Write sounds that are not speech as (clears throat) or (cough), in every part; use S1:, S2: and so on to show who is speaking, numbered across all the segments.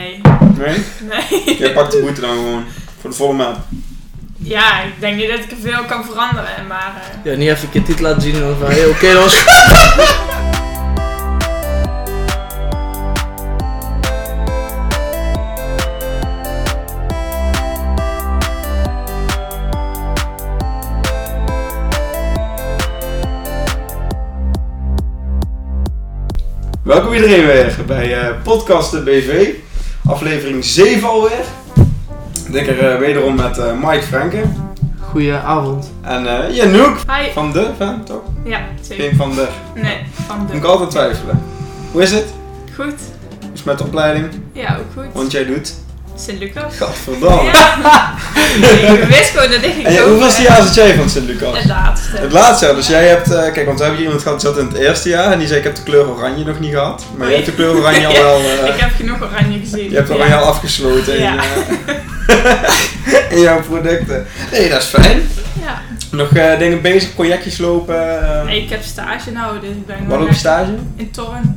S1: Nee? (laughs)
S2: Nee.
S1: Jij pakt de boete dan gewoon. Voor de volle maat.
S2: Ja, ik denk niet dat ik er veel kan veranderen, maar... eh,
S3: Ja, niet even een keer dit laten zien en dan van, hey, oké, dat was goed.
S1: Welkom iedereen weer bij eh, Podcasten BV. Aflevering 7 alweer. Dikker eh, wederom met eh, Mike Franken.
S3: Goedenavond.
S1: En eh Janouk
S2: Hi.
S1: van de, van, toch?
S2: Ja, zeker.
S1: Geen van de.
S2: Nee, van
S1: Moet ik
S2: de...
S1: altijd twijfelen. Hoe is het?
S2: Goed.
S1: Hoe is het met de opleiding?
S2: Ja, ook goed.
S1: Want jij doet.
S2: Sint-Lucas.
S1: Gadverdamme. (laughs)
S2: Ja. ik wist gewoon dat ik ging
S1: En jij,
S2: komen.
S1: hoeveelste jaar zit jij van Sint-Lucas?
S2: Het laatste.
S1: Het laatste jaar, dus jij hebt, eh, kijk, want we hebben hier iemand gehad die zat in het eerste jaar en die zei ik heb de kleur oranje nog niet gehad. Maar jij hebt de kleur
S2: (laughs)
S1: oranje al wel, eh,
S2: Ik heb genoeg oranje gezien.
S1: je hebt oranje al afgesloten in,
S2: Ja. (laughs)
S1: eh, in jouw producten. Nee, dat is fijn.
S2: Ja.
S1: Nog eh, dingen bezig, projectjes lopen. eh
S2: Ja. Nee, ik heb stage nou, dus ik ben
S1: Waar
S2: nog
S1: loop je
S2: echt
S1: stage?
S2: in Torren.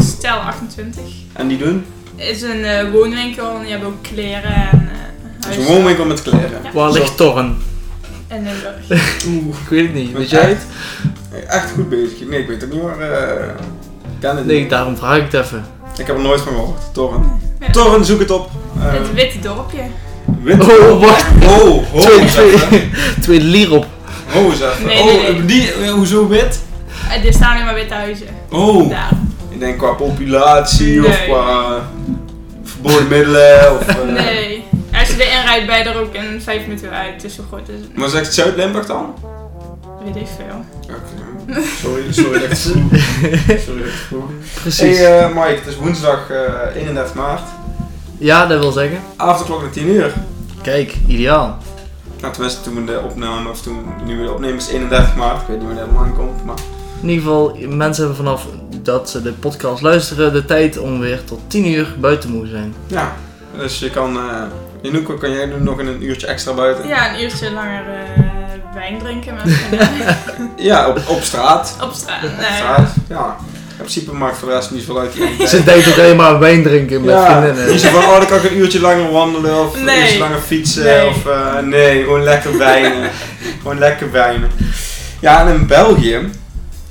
S2: Stel 28.
S1: En die doen?
S2: is een eh, woonwinkel en die hebben ook kleren en eh
S1: Dus
S2: huis.
S1: een woonwinkel met kleren.
S2: Ja.
S3: Waar ligt Torren?
S2: En Limburg.
S1: Oeh,
S3: Ik weet het niet, weet jij het?
S1: echt goed bezig. Nee, ik weet het niet hoor. eh, ik ken het
S3: Nee,
S1: niet.
S3: daarom vraag ik het even.
S1: Ik heb er nooit van gehoord. Torren.
S2: Ja.
S1: Torren, zoek het op. Eh,
S2: Het witte dorpje.
S1: wit.
S3: Oh, wacht.
S1: Oh, ho,
S3: Twee,
S1: eens even.
S3: twee, twee lier op. (laughs)
S1: Oh, is even.
S2: Nee,
S1: oh,
S2: nee, nee.
S1: Die, eh, hoezo wit?
S2: En Eh, er staan alleen maar witte huizen.
S1: Oh.
S2: Daar.
S1: Ik denk qua populatie
S2: Nee.
S1: of qua verboden middelen
S2: (laughs)
S1: of... eh,
S2: Nee. Als je erin rijdt, ben je er ook in vijf minuten weer uit. Dus zo groot is het. niet.
S1: Maar zegt Zuid-Limburg dan?
S2: Weet ik veel.
S1: Oké. (laughs) Sorry, sorry dat ik het vroeg. Sorry dat ik het vroeg.
S3: Precies.
S1: Hey eh, Mike, het is woensdag eh 31 maart.
S3: Ja, dat wil zeggen.
S1: Avondklok naar 10 uur.
S3: Kijk, ideaal.
S1: Nou, tenminste toen we de opname, of toen nu we de opname is 31 maart. Ik weet niet wanneer het online komt, maar...
S3: In ieder geval, mensen hebben vanaf dat ze de podcast luisteren de tijd om weer tot 10 uur buiten te moeten zijn.
S1: Ja, dus je kan... eh Janoek, wat kan jij doen nog in een uurtje extra buiten?
S2: Ja, een uurtje langer eh, wijn drinken met
S1: (laughs)
S2: vrienden.
S1: Ja, op, op straat.
S2: Op straat.
S1: Op
S2: Nee.
S1: straat, ja. In principe maakt voor de rest niet veel
S2: (laughs)
S1: uit.
S3: Ze denkt ook alleen maar wijn drinken met vriendinnen.
S1: Niet zo van, oh, dan kan ik een uurtje langer wandelen of
S2: Nee.
S1: een uurtje langer fietsen.
S2: Nee.
S1: Of, eh, nee, gewoon
S2: (laughs)
S1: lekker wijnen. gewoon lekker wijnen. Ja, en in België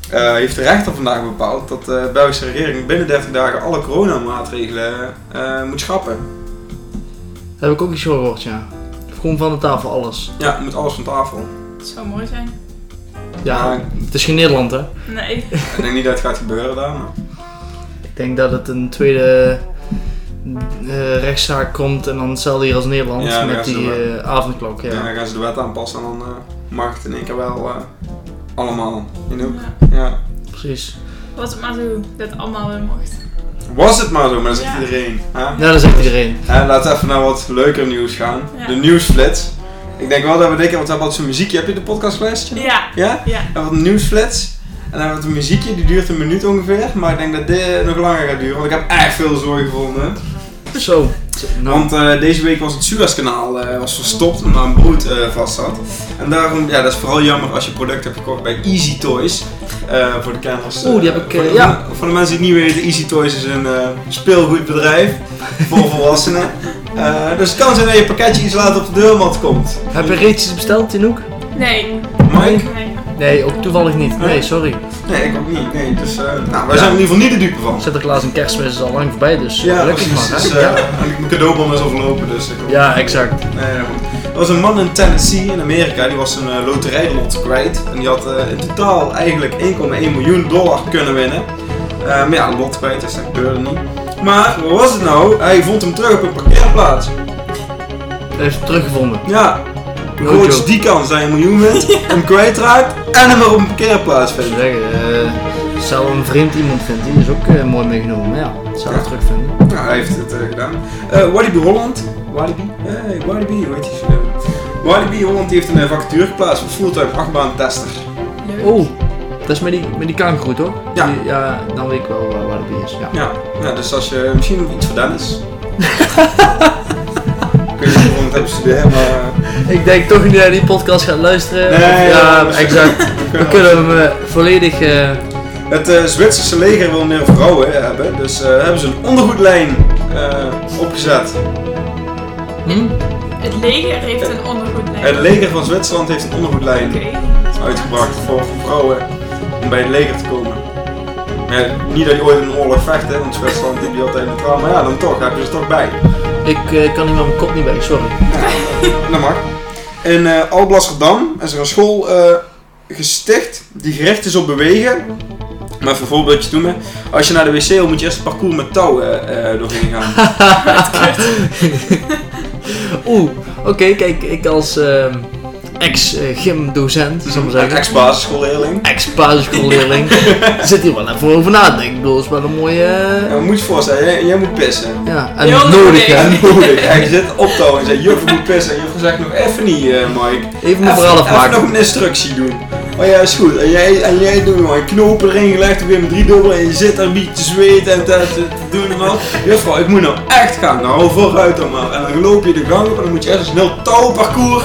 S1: eh, heeft de rechter vandaag bepaald dat de Belgische regering binnen 30 dagen alle coronamaatregelen eh, moet schrappen.
S3: Heb ik ook iets gehoord, ja. Gewoon van de tafel, alles.
S1: Ja, moet alles van tafel.
S2: Het zou mooi zijn.
S3: Ja,
S1: Maar
S3: het is geen Nederland, hè.
S2: Nee.
S1: ik denk niet dat het gaat gebeuren daar. Maar.
S3: Ik denk dat het een tweede eh, rechtszaak komt en dan hetzelfde hier als Nederland
S1: Ja,
S3: met
S1: dat is
S3: die
S1: wel.
S3: eh, avondklok. Ja.
S1: Ja. dan gaan ze de wet aanpassen en dan eh, mag het in één keer wel eh, allemaal in de hoek.
S2: Ja.
S1: Ja.
S3: precies.
S2: Was het maar zo dat het allemaal weer mocht.
S1: Was het maar zo, maar dat zegt
S2: Ja.
S1: iedereen. Hè?
S3: Ja, dat zegt iedereen.
S1: En laten we even naar wat leuker nieuws gaan.
S2: Ja.
S1: De nieuwsflits. Ik denk wel dat we denken, want we hebben altijd zo'n muziekje. Heb je de podcastlijstje?
S2: Ja.
S1: Ja?
S2: Ja.
S1: En wat nieuwsflits. En dan hebben we het muziekje, die duurt een minuut ongeveer. Maar ik denk dat dit nog langer gaat duren, want ik heb echt veel zooi gevonden.
S3: Zo. Nou,
S1: Want eh, deze week was het Suezkanaal eh, was verstopt omdat een boot eh, vast zat. En daarom, ja, dat is vooral jammer als je product hebt gekocht bij Easy Toys. Eh, voor de kenners. eh,
S3: Oeh, die heb ik,
S1: voor,
S3: eh,
S1: de,
S3: ja.
S1: voor de mensen die het niet weten, Easy Toys is een eh,
S3: (laughs)
S1: speelgoedbedrijf voor volwassenen. Eh, dus het kan zijn dat je pakketje iets later op de deurmat komt.
S3: heb je reeds iets besteld, Tinoek?
S2: Nee.
S1: Mike?
S2: Nee.
S3: Nee, ook toevallig niet. Nee, sorry.
S1: Nee, ik ook niet. Nee, dus, eh, nou, wij
S3: Ja.
S1: zijn er in ieder geval niet de dupe van.
S3: Sinterklaas en kerstmis is al lang voorbij, dus
S1: Ja,
S3: gelukkig
S1: precies.
S3: maar.
S1: Dus,
S3: Hè?
S1: eh,
S3: ja.
S1: en ik- mijn cadeaubon is overlopen, dus ik
S3: ja, exact.
S1: Nee, dat moet. Er was een man in Tennessee in Amerika, die was een eh, loterijlot kwijt. En die had eh, in totaal eigenlijk 1,1 miljoen dollar kunnen winnen. Eh, maar ja, lot kwijt, dus dat gebeurde niet. Maar, wat was het nou? Hij vond hem terug op een parkeerplaats.
S3: Hij heeft hem teruggevonden.
S1: Ja, hoe
S3: No
S1: groot is
S3: joke.
S1: die kans dat je een miljoen wint, hem kwijtraakt en hem weer op een parkeerplaats
S3: Ik
S1: vindt.
S3: zou zeggen, eh, stel een vreemd iemand vindt, die is ook eh, mooi meegenomen. Maar ja, zou het terugvinden.
S1: Nou, hij heeft het eh, gedaan. Eh, Walibi Holland. Walibi? Hey, Walibi, hoe heet die? Walibi Holland die heeft een eh, vacature geplaatst voor fulltime achtbaantester.
S2: Leuk.
S3: Oh, dat is met die, met die kangeroe, toch?
S1: Ja.
S3: Die- ja, dan weet ik wel waar, waar die is. Ja.
S1: Ja, ja dus als je misschien nog iets voor Dennis. ik weet niet waarom ik het heb gestudeerd, maar. eh,
S3: Ik denk toch niet naar die podcast gaat luisteren.
S1: Nee,
S3: ja,
S1: ja, dat is-
S3: exact.
S1: we
S3: We
S1: kunnen-
S3: kunnen hem eh, volledig. eh,
S1: Het eh, Zwitserse leger wil meer vrouwen hebben, dus eh, hebben ze een ondergoedlijn eh, gezet.
S3: Hm?
S2: Het leger heeft een ondergoedlijn.
S1: Het leger van Zwitserland heeft een ondergoedlijn
S2: Oké.
S1: uitgebracht voor vrouwen om bij het leger te komen. Maar ja, niet dat je ooit in een oorlog vecht, hè, want Zwitserland die altijd neutraal, maar ja, dan toch, heb je ze toch bij.
S3: Ik eh, kan hier met mijn kop niet bij, sorry.
S1: Dat mag. In eh Alblasserdam is er een school eh, gesticht die gericht is op bewegen. Maar even een voorbeeldje doen, hè. als je naar de wc wil, moet je eerst een parcours met touwen eh, doorheen gaan.
S3: Oeh, oké, kijk, ik als ehm, ex-gym-docent, zal ik maar
S1: Een
S3: zeggen.
S1: ex-basisschoolleerling. (laughs)
S3: Ex-basisschoolleerling. zit hier wel even over na te denken. Ik bedoel, het is wel een mooie. eh,
S1: Ja, moet je voorstellen, jij, jij moet pissen.
S3: ja, en
S2: Heel
S3: nodig,
S2: nodig.
S1: (laughs) Ja,
S3: hè?
S1: nodig. En je zit op touw en zegt, juf, ik moet pissen. En juf zegt nog even niet, eh, Mike.
S3: Even mijn verhaal
S1: even nog
S3: afmaken.
S1: een instructie doen. Oh ja, is goed. En jij, en jij doet maar een knopen erin gelegd, weer met drie dubbel en je zit daar een beetje te zweten en te, te, te doen en wat. Juffrouw, ik moet nou echt gaan. Nou, vooruit dan maar. En dan loop je de gang op en dan moet je eerst een heel touwparcours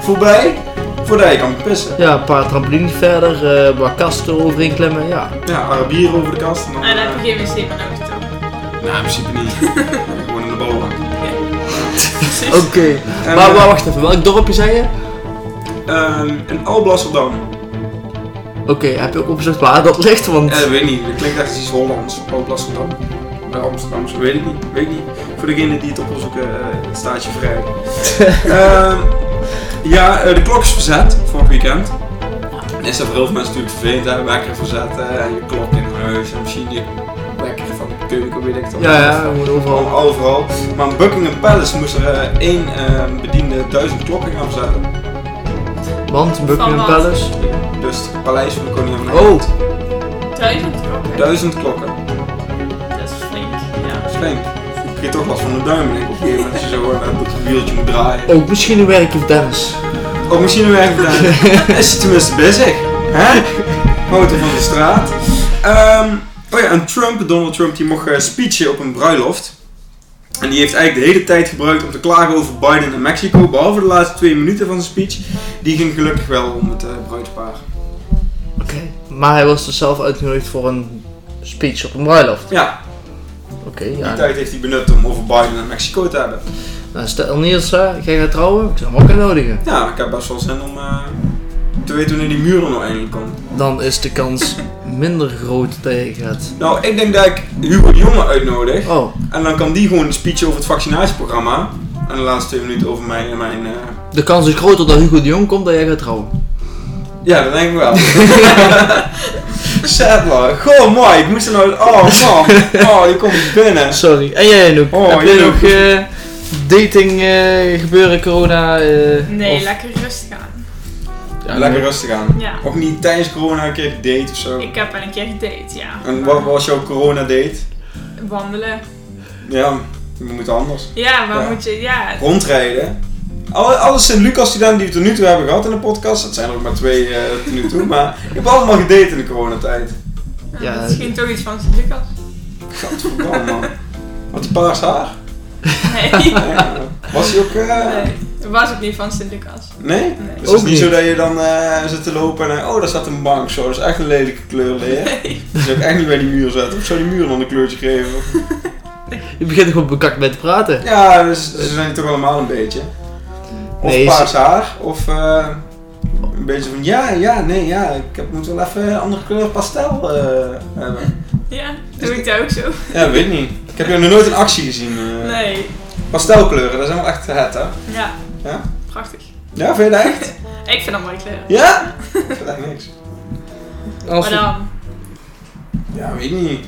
S1: voorbij, voordat je kan pissen.
S3: Ja, een paar trampolines verder, eh waar kasten overheen klimmen, ja.
S1: Ja, Arabier over de kast. En dan,
S2: En dan
S1: eh,
S2: Ah, heb je geen wc meer nodig
S1: (laughs)
S2: toch?
S1: nou, in principe niet. (laughs) Gewoon in de ballenbak.
S2: Dus
S3: Oké,
S1: En,
S3: maar,
S1: eh,
S3: maar wacht even, welk dorpje zei je?
S1: ehm, in Alblasserdam.
S3: Oké, heb je ook opgezocht waar dat ligt? Want
S1: Ja, dat weet ik niet. Dat klinkt echt iets Hollands. Alblasserdam. Bij Amsterdamse, weet ik niet. Weet ik niet. Voor degenen die het op wil zoeken, eh, het staat je
S3: (laughs)
S1: vrij. Ehm, ja, eh, de klok is verzet vorig weekend. En is dat voor heel veel mensen natuurlijk vervelend, hè? Wekker verzet hè, en je klok in huis en misschien je wekker van de keuken, weet ik dat.
S3: ja, ja, we moeten
S1: Overal,
S3: overal.
S1: overal. Maar in Buckingham Palace moest er eh, één eh, bediende duizend klokken gaan verzetten.
S3: Want Buckingham
S2: wat?
S3: Palace.
S1: Dus het paleis van de koningin van
S3: Oh,
S1: Engeland.
S2: Duizend klokken.
S1: Duizend klokken.
S2: Dat is flink. Ja.
S1: Spank. Ik kreeg toch last van de duim, denk ik, op een gegeven moment. als je zo hoort dat het wieltje moet draaien.
S3: ook misschien een werkje van Dennis.
S1: Oh, misschien een gedaan. Is hij tenminste bezig? Hè? Foto van de straat. Ehm, oh ja, en Trump, Donald Trump, die mocht eh, speechen op een bruiloft. En die heeft eigenlijk de hele tijd gebruikt om te klagen over Biden en Mexico. Behalve de laatste twee minuten van zijn speech. Die ging gelukkig wel om het eh bruidspaar.
S3: Oké, maar hij was dus zelf uitgenodigd voor een speech op een bruiloft.
S1: Ja,
S3: Oké,
S1: die
S3: ja.
S1: tijd heeft hij benut om over Biden en Mexico te hebben.
S3: Nou, stel Niels, hè, ga je gaan trouwen? Ik zou hem ook uitnodigen.
S1: Ja, ik heb best wel zin om eh, te weten wanneer die muur er nou eindelijk komt.
S3: Dan is de kans minder groot dat je gaat.
S1: Nou, ik denk dat ik Hugo de Jonge uitnodig.
S3: Oh,
S1: En dan kan die gewoon een speech over het vaccinatieprogramma. En de laatste twee minuten over mij en mijn... eh,
S3: de kans is groter dat Hugo de Jong komt dat jij gaat trouwen.
S1: Ja, dat denk ik
S3: (laughs)
S1: wel. Sadler. Goh, mooi. Ik moest er nou... Oh,
S3: (laughs)
S1: man. Oh, die komt binnen.
S3: Sorry. En jij Noek?
S1: Oh,
S3: Heb jij
S1: Anouk.
S3: nog eh, dating eh, gebeuren, corona? eh,
S2: Nee,
S3: of-
S2: lekker rustig aan.
S3: Ja,
S1: Lekker
S3: nee.
S1: rustig aan.
S2: Ja.
S1: Ook niet tijdens corona een keer gedate of zo.
S2: Ik heb wel een keer gedate, ja.
S1: En wat was jouw corona date?
S2: Wandelen.
S1: Ja, we moeten anders.
S2: Ja, waar
S1: Ja.
S2: moet je... Ja,
S1: Rondrijden. Alle, alle Sint-Lucas-studenten die we tot nu toe hebben gehad in de podcast, dat zijn er ook maar twee eh, tot nu toe, maar ik heb allemaal gedate in de coronatijd.
S3: Ja,
S2: dat is Ah, misschien toch iets van Lucas.
S1: Gadverdamme, man. Wat die paars haar? (laughs)
S2: Nee.
S1: Ja. Was hij ook... eh,
S2: nee. Dat was ook niet van Sint-Lucas.
S1: Nee?
S2: Nee.
S1: Dus het is
S3: Ook
S1: niet zo
S3: niet.
S1: dat je dan eh, zit te lopen en... eh, oh, daar staat een bank zo. Dat is echt een lelijke kleur, leer. Dat zou ik echt niet bij die muur zetten. Of zou die muur dan een kleurtje geven?
S3: Je begint er gewoon bekakt mee te praten.
S1: Ja, dus, ze zijn toch allemaal een beetje. Of
S3: Nee, ze-
S1: paars haar. Of eh, een beetje van... Ja, ja, nee, ja. Ik heb- moet wel even een andere kleur pastel eh, hebben.
S2: Ja, doe ik dat ook zo?
S1: Ja, weet niet. Ik heb jou nog nooit in actie gezien. eh.
S2: Nee.
S1: Pastelkleuren, dat zijn wel echt het, hè?
S2: Ja.
S1: Ja?
S2: Prachtig.
S1: Ja, vind je dat echt?
S2: Ik vind dat mooie kleuren.
S1: Ja? Ik vind dat echt niks.
S3: Als
S2: Maar dan,
S1: Ja, weet ik niet. Een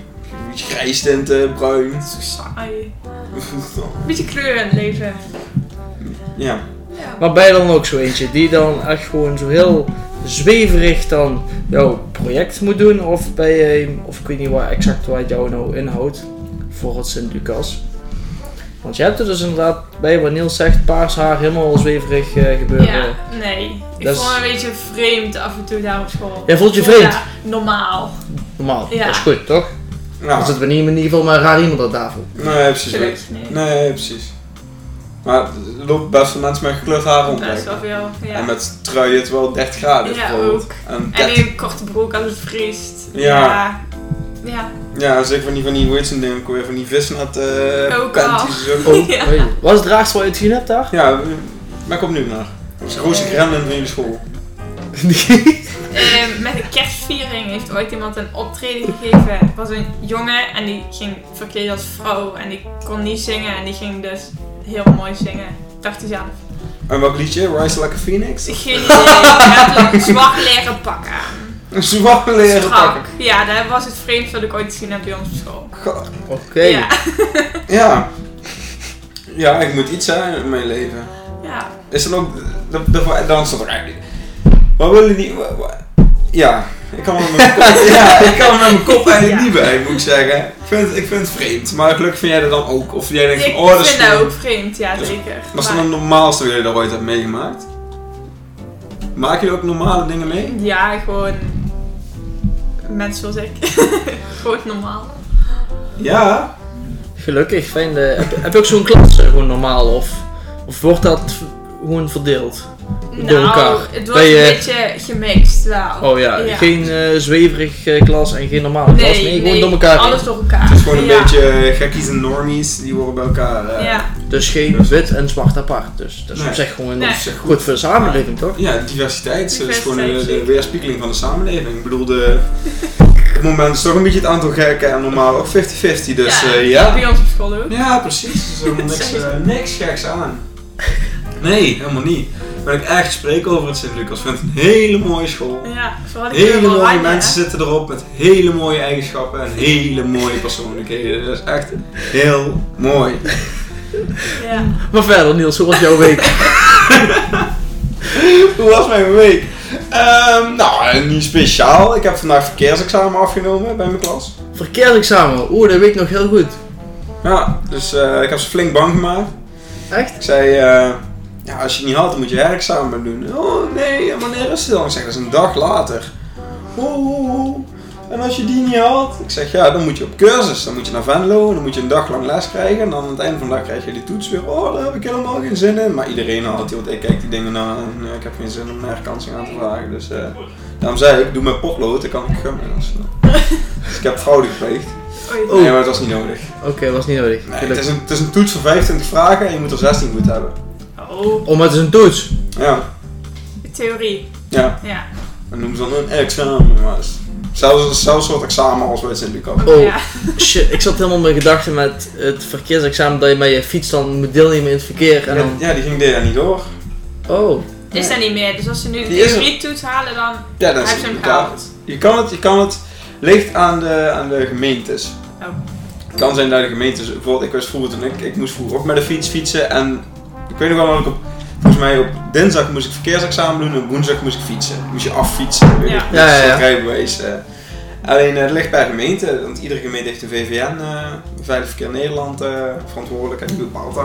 S1: beetje grijs tinten, bruin.
S2: zo saai.
S1: (laughs)
S2: Beetje kleur in het leven.
S1: ja.
S2: Ja.
S3: Maar ben je dan ook zo eentje die dan echt gewoon zo heel zweverig dan jouw project moet doen? Of ben je, of ik weet niet waar exact wat jou nou inhoudt voor het Sint-Lucas? Want je hebt er dus inderdaad bij wat Niels zegt, paars haar, helemaal zweverig eh, gebeuren.
S2: Ja, nee. Ik
S3: Dat is-
S2: vond me een beetje vreemd af en toe daar op school.
S3: Jij voelt je
S2: Ik vond
S3: vreemd?
S2: dat normaal.
S3: Normaal,
S2: Ja.
S3: dat is goed toch? Dan
S1: Nou,
S3: zitten we niet in ieder geval maar raar iemand aan tafel.
S1: nee, precies.
S2: Absoluut,
S1: weet.
S2: nee.
S1: Nee, precies. Maar er lopen best veel mensen met gekleurd haar rond.
S2: Best
S1: lijkt
S2: wel
S1: me.
S2: veel. Ja.
S1: En met truien terwijl het 30 graden is
S2: Ja,
S1: bijvoorbeeld.
S2: ook.
S1: En
S2: En
S1: dertig-
S2: in een korte broek als het vriest.
S1: Ja.
S2: ja. Ja.
S1: Ja, zeker van die, van die, hoe heet zo'n ding ook weer, van die visnat eh
S2: Ook
S1: panties. en
S2: (laughs)
S1: zo.
S2: (laughs)
S3: Oh,
S2: Ja.
S3: oei. Was het draagst wat je het gezien hebt daar? (laughs)
S1: Ja, maar ik kom nu naar. Dat is de grootste gremlin van jullie school.
S2: Eh, met een kerstviering heeft ooit iemand een optreden gegeven. Het was een jongen en die ging verkleed als vrouw. En die kon niet zingen en die ging dus heel mooi zingen. Dacht hij zelf.
S1: En welk liedje? Rise Like a Phoenix?
S2: Geen idee. Hij had
S3: (laughs)
S2: een zwart leren pak aan.
S1: Een zwart leren
S2: Strak.
S1: pak.
S2: Ja, dat was het vreemdste wat ik ooit gezien heb bij ons op school.
S1: Goh,
S3: Oké.
S2: Ja.
S1: Ja. Ja, ik moet iets zijn in mijn leven.
S2: ja.
S1: Is dan ook... dat- dat- Dan staat er eigenlijk... Wat willen die... wa- wa- Ja, ik kan er met mijn kop,
S2: (laughs)
S1: ja, ik kan er met mijn kop eigenlijk niet bij, moet ik zeggen. Ik vind, ik vind het vreemd, maar gelukkig vind jij dat dan ook. Of jij denkt van,
S2: Ik
S1: oh, dat is
S2: vind dat
S1: gewoon-
S2: ook vreemd, ja zeker.
S1: Dat is dan
S2: Maar-
S1: het normaalste wat jullie er ooit hebben meegemaakt. Maken jullie ook normale dingen mee?
S2: Ja, gewoon mensen zoals ik. (laughs) gewoon normaal.
S1: Ja.
S3: Gelukkig, fijn. eh, heb, heb je ook zo'n klas eh, gewoon normaal? Of, of wordt dat v- gewoon verdeeld? Door
S2: Nou,
S3: elkaar.
S2: het
S3: Ben
S2: wordt
S3: je-
S2: een beetje gemixt wel.
S3: Oh ja, geen eh, zweverig eh, klas en geen normale klas. Nee, gewoon door elkaar. heen.
S2: alles door elkaar.
S1: Het is gewoon een
S2: Ja.
S1: beetje gekkies en normies, die horen bij elkaar. eh.
S2: Ja,
S3: Dus geen wit en zwart apart. Dus dat is
S1: Nee.
S3: op zich gewoon
S2: Nee.
S1: Zeg goed.
S3: goed voor de samenleving, toch?
S1: Ja, diversiteit, eh, is gewoon eh, de,
S2: Diversiteit,
S1: weerspiegeling van de samenleving. Ik bedoel, de, op het moment is toch een beetje het aantal gekken en normaal ook 50-50, dus
S2: ja,
S1: eh,
S2: dat
S1: ja.
S2: bij ons op school ook.
S1: Ja, precies. Er is helemaal
S2: (laughs)
S1: niks, eh, niks geks aan. Nee, helemaal niet. Maar ik echt spreken over het Sint-Lucas. Ik vind het een hele mooie school.
S2: Ja, vooral die kleur
S1: Hele mooie
S2: oranje,
S1: mensen
S2: hè.
S1: zitten erop met hele mooie eigenschappen en hele
S2: (laughs)
S1: mooie persoonlijkheden. Dat is echt heel mooi.
S2: Ja.
S1: Mm.
S3: Maar verder, Niels, hoe was
S1: (laughs)
S3: jouw week?
S1: Hoe was mijn week? Ehm, nou, eh, niet speciaal. Ik heb vandaag verkeersexamen afgenomen bij mijn klas.
S3: Verkeersexamen, oeh, dat weet ik nog heel goed.
S1: Ja, dus eh, ik heb ze flink bang gemaakt.
S3: Echt?
S1: Ik zei, eh, ja, als je het niet haalt, dan moet je herexamen doen. Oh nee, en wanneer is het dan? Ik zeg, dat is een dag later. Oh, oh, oh. En als je die niet haalt? Ik zeg, ja, dan moet je op cursus. Dan moet je naar Venlo, dan moet je een dag lang les krijgen. En dan aan het einde van de dag krijg je die toets weer. Oh, daar heb ik helemaal geen zin in. Maar iedereen haalt die, want ik kijk die dingen na. En eh, ik heb geen zin om een herkansing aan te vragen. Dus eh, daarom zei ik, doe mijn potlood, dan kan ik gummen. Als, dus ik heb fraude gepleegd.
S2: Oei.
S1: Nee, maar dat was niet nodig.
S3: Oké, was niet nodig.
S1: Nee, het,
S3: Gelukkig.
S1: is een, het is een toets van 25 vragen en je moet er 16 goed hebben.
S2: Oh,
S3: Oh, maar het is een toets.
S1: Ja.
S2: theorie.
S1: Ja,
S2: Ja.
S1: en noemen ze dan een examen. Maar het is zelfs hetzelfde soort examen als bij het Sint-Lucas.
S3: Oh.
S2: Ja.
S3: Shit, ik zat helemaal in mijn gedachten met het verkeersexamen dat je met je fiets dan moet deelnemen in het verkeer. En dan,
S1: Ja, die ging dit jaar niet door.
S3: oh,
S2: Is dat niet meer. Dus als ze nu de
S1: Die is er.
S2: theorie-toets halen, dan
S1: Ja, dat
S2: heb
S1: is
S2: ze
S1: het
S2: hem
S1: betaald.
S2: gehaald.
S1: Je kan het, je kan het. Ligt aan de, aan de gemeentes.
S2: Oh.
S1: Het kan zijn dat de gemeentes, bijvoorbeeld ik was vroeger toen ik, ik moest vroeger ook met de fiets fietsen en ik weet nog wel dat ik op, volgens mij op dinsdag moest ik verkeersexamen doen en op woensdag moest ik fietsen. Moest je affietsen, weet
S2: Ja.
S1: ik,
S3: Ja,
S1: dat is
S3: ja, ja.
S1: het rijbewijs. eh. Alleen eh, het ligt bij gemeente, want iedere gemeente heeft een VVN, eh Veilig Verkeer Nederland, eh, verantwoordelijk en die bepaalt dat.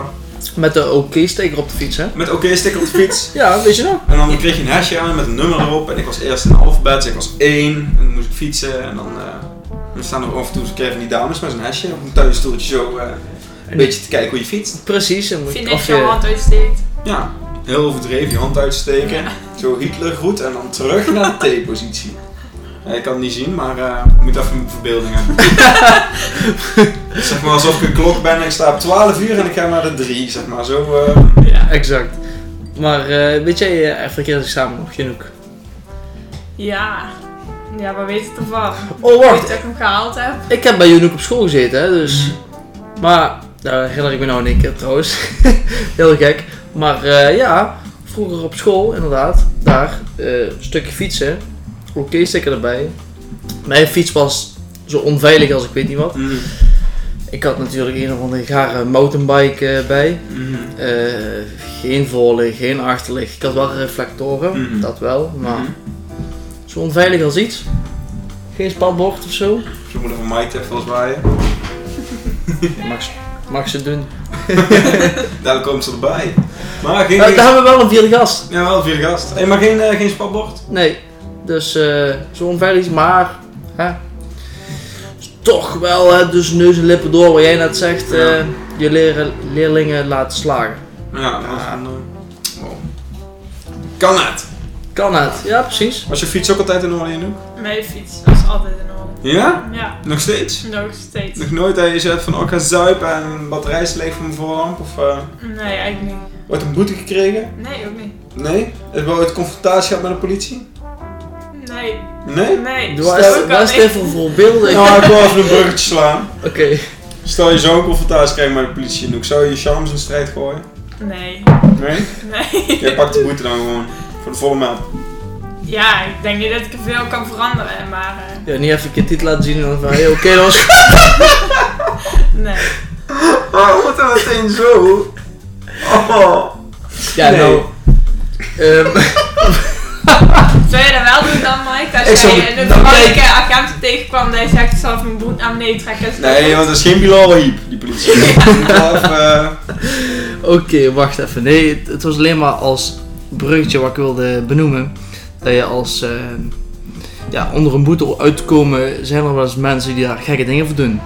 S3: met de OK-steker op de fiets, hè?
S1: Met oké-sticker op de fiets.
S3: Ja, weet je nog?
S1: En dan kreeg je een hesje aan met een nummer erop. En ik was eerst in de alfabet, dus ik was één. En dan moest ik fietsen. En dan, eh, dan staan er af en toe zo'n keer van die dames met zo'n hesje op een tuinstoeltje zo eh, een beetje te kijken hoe je fietst.
S3: Precies, dan moet
S2: Vind
S3: of
S2: ik jouw
S3: je...
S2: hand uitsteekt.
S1: Ja, heel overdreven je hand uitsteken. Zo Hitler goed en dan terug naar de T-positie. Ja, ik kan het niet zien, maar eh, ik moet even mijn verbeelding hebben. zeg maar alsof ik een klok ben en ik sta op 12 uur en ik ga naar de 3. Zeg maar zo. eh,
S3: Ja, exact. Maar eh, weet jij eh, verkeersexamen nog genoeg?
S2: Ja. Ja, maar weet het ervan?
S3: Oh,
S2: Ik
S3: wacht.
S2: weet dat ik hem gehaald heb.
S3: Ik heb bij Junoek op school gezeten, hè, dus.
S1: Mhm.
S3: Maar, daar herinner ik me nou in één keer trouwens. (laughs) Heel gek. Maar eh, ja, vroeger op school, inderdaad, daar, eh, een stukje fietsen. Oké, sticker erbij. Mijn fiets was zo onveilig als ik weet niet wat.
S1: mm,
S3: Ik had natuurlijk een of andere gare mountainbike eh, bij.
S1: mm,
S3: Eh, geen voorlig, geen achterlicht. Ik had wel reflectoren,
S1: Mhm.
S3: dat wel, maar
S1: mm.
S3: zo onveilig als iets. Geen spanbord of zo.
S1: Je moeder van Mike heeft wel zwaaien.
S3: Mag, ze- mag ze doen.
S1: Daar komt ze erbij. Maar geen.
S3: Eh, daar hebben we wel een vierde gast.
S1: Ja, wel vierde gast. Nou, Hey, maar geen, eh, geen spatbord?
S3: Nee, dus eh, zo onveilig, maar hè, is toch wel hè, dus neus en lippen door wat jij net zegt,
S1: Ja.
S3: eh, je leren, leerlingen laten slagen.
S1: Ja, dat was een. eh, wow. Kan het?
S3: Kan het, ja precies.
S1: Was je fiets ook altijd in orde, Anouk?
S2: Mijn fiets was altijd in orde.
S1: Ja?
S2: Ja,
S1: Nog steeds?
S2: nog steeds.
S1: Nog nooit dat je zegt van, oh, ik ga zuipen en een batterij is leeg van mijn voorlamp? Of eh,
S2: Nee, eigenlijk niet.
S1: wordt een boete gekregen?
S2: Nee, ook niet.
S1: Nee? Heb je ooit confrontatie gehad met de politie?
S2: Nee,
S1: Nee?
S2: nee.
S3: Doe
S2: zo
S3: eens-
S2: kan
S3: Waar is
S2: ik.
S3: dit voor voorbeelden?
S1: Nou, ik (laughs) wil even een bruggetje slaan.
S3: Oké.
S1: Stel je zo'n confrontatie krijgt met de politie, Noek, zou je je charmes in strijd gooien?
S2: Nee,
S1: Nee?
S2: nee.
S1: Jij pakt de boete dan gewoon voor de volle maand.
S2: Ja, ik denk niet dat ik er veel kan veranderen, maar eh,
S3: Ja, niet even een keer dit laten zien en dan van, hey, oké, dat was...
S2: nee.
S1: Oh, wat dat meteen zo? Oh.
S3: Ja,
S1: Nee.
S3: nou... ehm,
S2: Zou je dat wel doen dan, Mike?
S1: Ik
S2: Als
S1: zou-
S2: jij eh, een
S1: nou,
S2: vrouwelijke agent tegenkwam die zegt, ik zal even mijn broek aan meetrekken. is dat
S1: Nee,
S2: goed?
S1: want dat is geen Bilal Hiep, die politie. Of, eh,
S3: Oké, wacht even. Nee, het, het was alleen maar als bruggetje wat ik wilde benoemen. Dat je als... ehm, ja, onder een boete uitkomen zijn er wel eens mensen die daar gekke dingen voor doen.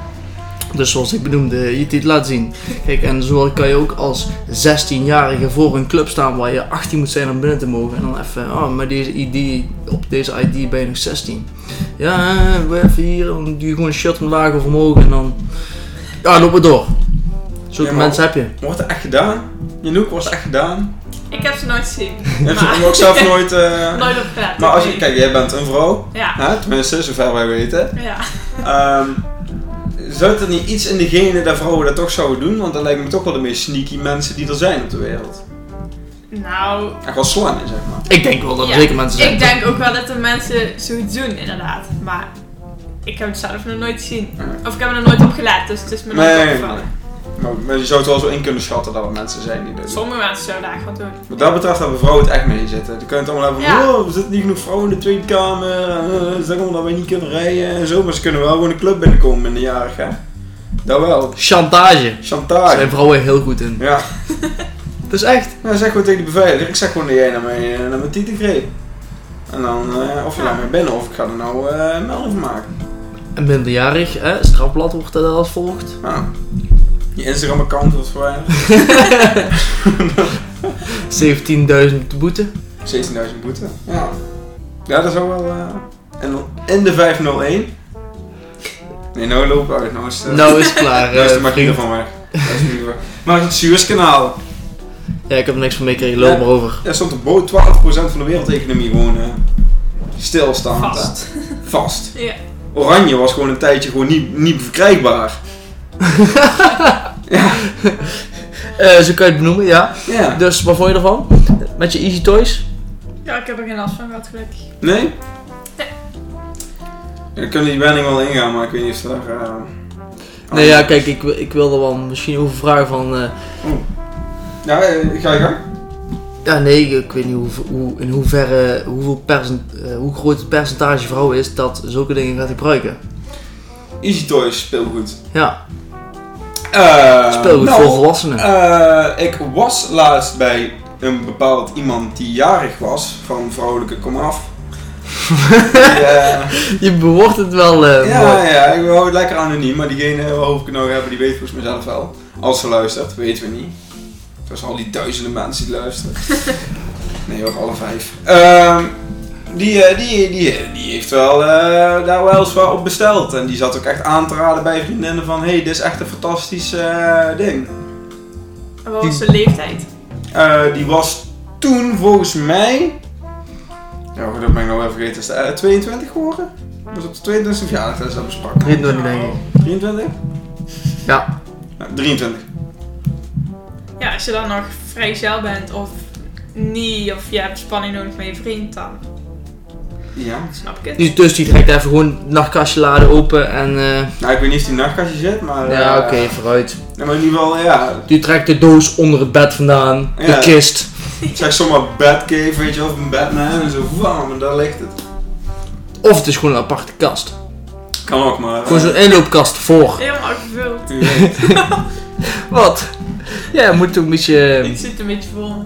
S3: Dus zoals ik benoemde, je dit laat zien. Kijk, en zo kan je ook als 16-jarige voor een club staan waar je 18 moet zijn om binnen te mogen. En dan even, oh, maar deze ID, op deze ID ben je nog 16. Ja, eh, we even hier, dan doe je gewoon een shirt omlaag of omhoog en dan... Ja, loop maar door. Zulke
S1: Ja, maar-
S3: mensen heb je.
S1: wordt er echt gedaan? Janouk, wordt er echt gedaan?
S2: Ik heb ze nooit gezien.
S1: (laughs) Heb je
S2: Maar-
S1: hem ook
S2: (laughs)
S1: zelf nooit... eh,
S2: Nooit op gelet.
S1: Maar als je...
S2: nee.
S1: Kijk, jij bent een vrouw.
S2: Ja,
S1: Hè? Tenminste, zover wij weten.
S2: ja.
S1: Ehm zou er niet iets in degene dat vrouwen dat toch zouden doen? Want dat lijkt me toch wel de meest sneaky mensen die er zijn op de wereld.
S2: Nou,
S1: Echt wel slangen, zeg maar.
S3: Ik denk wel dat er
S2: Ja,
S3: zeker mensen zijn.
S2: Ik denk ook wel dat er mensen zoiets doen, inderdaad. Maar ik heb het zelf nog nooit gezien. Of ik heb er nooit op gelet, dus het is me
S1: Nee,
S2: nooit
S1: nee,
S2: opgevallen.
S1: Maar, maar je zou het wel zo in kunnen schatten dat er mensen zijn die dat doen.
S2: Sommige mensen zouden daar gewoon doen.
S1: Wat dat betreft hebben vrouwen het echt mee zitten. Dan kun je het allemaal hebben van,
S2: Ja.
S1: oh, er zitten niet genoeg vrouwen in de Tweede Kamer. En, eh, ze zeggen allemaal dat wij niet kunnen rijden en zo. Maar ze kunnen wel gewoon een club binnenkomen minderjarig, hè. Dat wel.
S3: Chantage. Daar
S1: Chantage.
S3: zijn vrouwen heel goed in.
S1: Ja.
S3: Dat is echt.
S1: Nou, zeg gewoon tegen die beveiliger. Ik zeg gewoon dat jij naar mijn, eh, naar mijn titel greep. En dan, eh, of je
S2: Ja.
S1: daarmee bent of ik ga er nou eh een melding van maken.
S3: En minderjarig, hè, strafblad wordt dat als volgt.
S1: Nou, je Instagram-account wordt verwijderd.
S3: 17.000 boete.
S1: 16.000 boete. Ja. Ja, dat is ook wel... eh, En, dan- en de 501. Nee, nou loop uit. Nou is het... eh,
S3: Nou is
S2: (laughs)
S3: het klaar.
S1: Daar is de
S3: eh,
S1: machine
S3: vriend.
S1: van weg. Daar is de machine van. Maar het Suezkanaal.
S3: Ja, ik heb er niks van meegekregen, loop
S1: Ja.
S3: maar over.
S1: Er stond op boot 12% van de wereldeconomie gewoon eh, stilstaand. hè.
S2: Vast.
S1: Vast.
S2: Ja.
S1: Oranje was gewoon een tijdje gewoon niet, niet verkrijgbaar.
S3: Eh, zo kan je het benoemen, ja.
S1: Ja.
S3: Dus wat vond je ervan? Met je Easy Toys?
S2: ja, ik heb er geen last van gehad, gelukkig.
S1: Nee?
S2: Nee.
S1: Ja, Dan kunnen die wenning wel ingaan, maar ik weet niet of ze daar... eh,
S3: Nee, Nou ja, kijk, ik, wil- ik wilde wel misschien over vragen van. eh,
S1: Ja, eh, ga je gang.
S3: ja, nee, ik weet niet hoe, hoe, in hoeverre, hoeveel percent, eh, hoe groot het percentage vrouwen is dat zulke dingen gaat gebruiken.
S1: Easy Toys speelgoed.
S3: Ja,
S1: Eh,
S3: speelgoed
S1: nou,
S3: voor volwassenen.
S1: Eh, ik was laatst bij een bepaald iemand die jarig was, van vrouwelijke komaf. ja,
S3: Je bewoordt het wel eh, mooi.
S1: eh, ja, ja, ik hou het lekker anoniem, maar diegene waarover ik het nou hebben, die weet volgens mij zelf wel. Als ze luistert, weten we niet. Zoals al die duizenden mensen die luisteren. nee hoor, alle vijf. Ehm, die, eh, die, die, die heeft wel eh, daar wel eens wat op besteld. En die zat ook echt aan te raden bij vriendinnen van, hey, dit is echt een fantastisch eh, ding.
S2: En wat was de leeftijd?
S1: Eh, die was toen volgens mij. Ja, goed, dat ben ik nou wel vergeten. Is de, eh, 22 geworden? Was op de 22 verjaardag dat is dat besprak.
S3: 23 denk ik.
S1: 23?
S3: Ja.
S1: Ja, 23.
S2: Ja, als je dan nog vrijgezel bent of niet, of je hebt spanning nodig met je vriend, dan
S1: Ja.
S2: snap ik het.
S3: Dus, dus die trekt even gewoon het nachtkastje laden open en... eh,
S1: Nou, ik weet niet of die nachtkastje zit, maar.
S3: ja,
S1: eh,
S3: oké, vooruit.
S1: nee, maar in ieder geval, ja.
S3: Die trekt de doos onder het bed vandaan,
S1: Ja.
S3: de kist.
S1: Ik zeg zomaar Batcave, weet je wel, van Batman en zo. Wauw, maar daar ligt het.
S3: Of het is gewoon een aparte kast.
S1: Kan ook, maar. eh,
S3: Gewoon zo'n inloopkast voor.
S2: Helemaal gevuld.
S1: u weet.
S3: Wat? Ja, moet toch een beetje...
S2: Ik zit een beetje vol.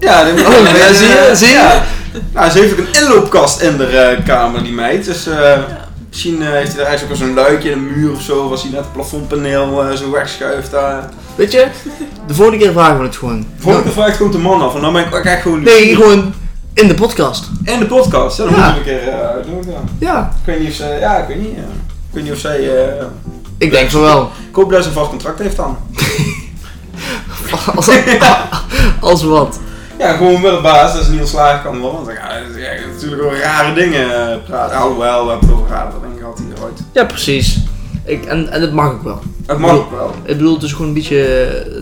S1: Ja, dat
S3: Oh, ja, zie je, zie je?
S1: eh, Ja. Nou, ze heeft ook een inloopkast in de eh, kamer, die meid. Dus eh, misschien eh, heeft hij daar eigenlijk ook wel zo'n luikje in de muur of zo. Was hij net het plafondpaneel eh, zo wegschuift daar.
S3: Weet je, de volgende keer vragen we het gewoon.
S1: Volgende vraag komt de man af. En dan ben ik ook echt gewoon...
S3: Nee, gewoon in de podcast.
S1: En de podcast. Ja, dan
S3: Ja.
S1: moeten we een keer eh uitnodigen.
S3: Ja.
S1: Ik weet niet of ze... Ja, ik weet niet. ja. weet niet of zij... eh
S3: Ik denk van wel.
S1: ik hoop dat ze een vast contract heeft dan.
S3: (laughs) Als, als wat.
S1: (laughs) Ja, gewoon wel de baas, dat ze niet ontslagen kan worden. Want dan ga je dan ga je natuurlijk over rare dingen eh, praten. Alhoewel, we hebben het over rare dingen gehad hier ooit.
S3: Ja, precies. Ik, en, en dat mag ook wel.
S1: Dat mag ook wel.
S3: Ik bedoel, het is gewoon een beetje eh,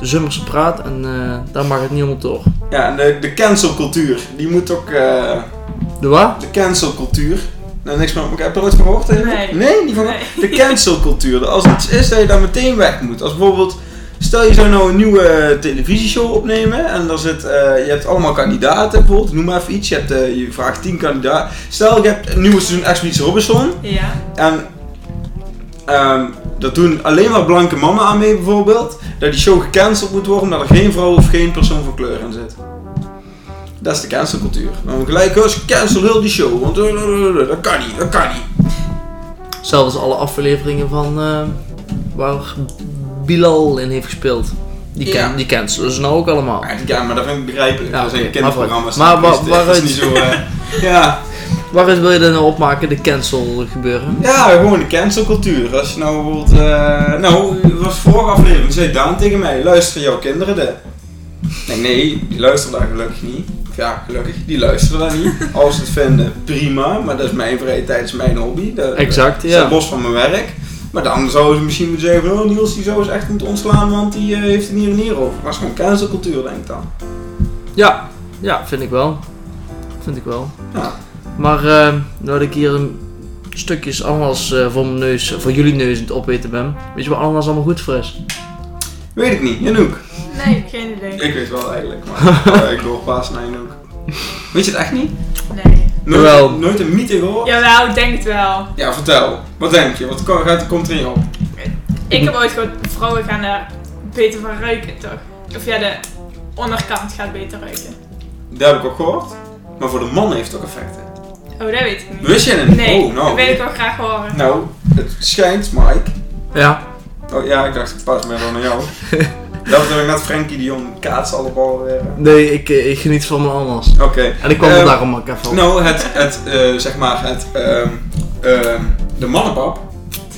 S3: de zomerse praat en eh, daar mag het niet onder door.
S1: Ja, en de, de cancelcultuur, die moet ook... eh,
S3: De wat?
S1: de cancelcultuur. Nou, niks meer, heb je er ooit van gehoord? Erik?
S2: Nee.
S1: Nee, niet van
S2: Nee.
S1: De cancelcultuur. dat Als iets is, dat je daar meteen weg moet. Als bijvoorbeeld, stel je zou nou een nieuwe eh, televisieshow opnemen. En daar zit, eh, je hebt allemaal kandidaten bijvoorbeeld. Noem maar even iets. Je, hebt, eh, je vraagt 10 kandidaten. Stel, je hebt een nieuwe seizoen Expeditie Robinson.
S2: Ja.
S1: En ehm, dat doen alleen maar blanke mannen aan mee bijvoorbeeld. Dat die show gecanceld moet worden omdat er geen vrouw of geen persoon van kleur in zit. Dat is de cancelcultuur. Dan gelijk, oh, ze cancel heel die show, want eh, eh, eh, eh, dat kan niet, dat kan niet.
S3: Zelfs alle afleveringen van eh, waar Bilal in heeft gespeeld. Die,
S1: Ja.
S3: can- die cancelen ze nou ook allemaal.
S1: Maar, ja, maar dat vind ik begrijpelijk.
S3: Ja,
S1: dat zijn
S3: oké,
S1: kinderprogramma's.
S3: maar
S1: dat
S3: wa-
S1: is- dat is
S3: waaruit-
S1: niet zo, eh, (laughs) ja.
S3: Waaruit wil je dat nou opmaken, de cancel gebeuren?
S1: ja, gewoon de cancelcultuur. Als je nou bijvoorbeeld, eh, nou, het was vorige aflevering, zei Daan tegen mij, luisteren jouw kinderen dit? Ik denk, nee, die luisteren daar gelukkig niet. Of ja, gelukkig, die luisteren daar
S3: (laughs)
S1: niet. Als ze het vinden, prima, maar dat is mijn vrije tijd, dat is mijn hobby. Dat,
S3: Exact,
S1: dat staat
S3: ja.
S1: los van mijn werk. Maar dan zouden ze misschien moeten zeggen, van, oh Niels, die zou eens echt moeten ontslaan, want die eh, heeft er hier en hier over. Maar het is gewoon cancelcultuur, denk ik dan.
S3: Ja, ja, vind ik wel. Vind ik wel.
S1: Ja.
S3: Maar eh nou dat ik hier een stukjes ananas eh, voor mijn neus, voor jullie neus aan het opeten ben. Weet je waar ananas allemaal goed voor is?
S1: Weet ik niet, Janouk.
S2: Nee, geen idee.
S1: Ik weet wel eigenlijk,
S3: (laughs)
S1: maar eh, ik hoor paas naar Janouk. Weet je het echt niet?
S2: Nee.
S1: Nooit,
S3: Jawel.
S1: nooit een mythe gehoord?
S2: Jawel, ik denk het wel.
S1: Ja, vertel. Wat denk je? Wat ko- gaat, komt er in je op?
S2: Ik heb ooit gehoord, vrouwen gaan er beter van ruiken, toch? Of ja, de onderkant gaat beter ruiken.
S1: Dat heb ik ook gehoord. Maar voor de man heeft het ook effecten.
S2: Oh, dat weet ik niet.
S1: Wist je het? niet?
S2: Nee, dat
S1: Oh, nou.
S2: wil ik wel graag horen. (laughs)
S1: Nou, het schijnt, Mike.
S3: Ja.
S1: Oh ja, ik dacht, ik pas me wel naar
S3: (laughs)
S1: jou. Dat bedoel ik net Frankie de Jong kaats allemaal weer. Oké.
S3: Nee, ik, eh, ik geniet van mijn ananas. En ik kwam
S1: Ehm,
S3: er daarom ook (laughs) even op.
S1: Nou, het, het eh, zeg maar, het, ehm, ehm, de mannenpap,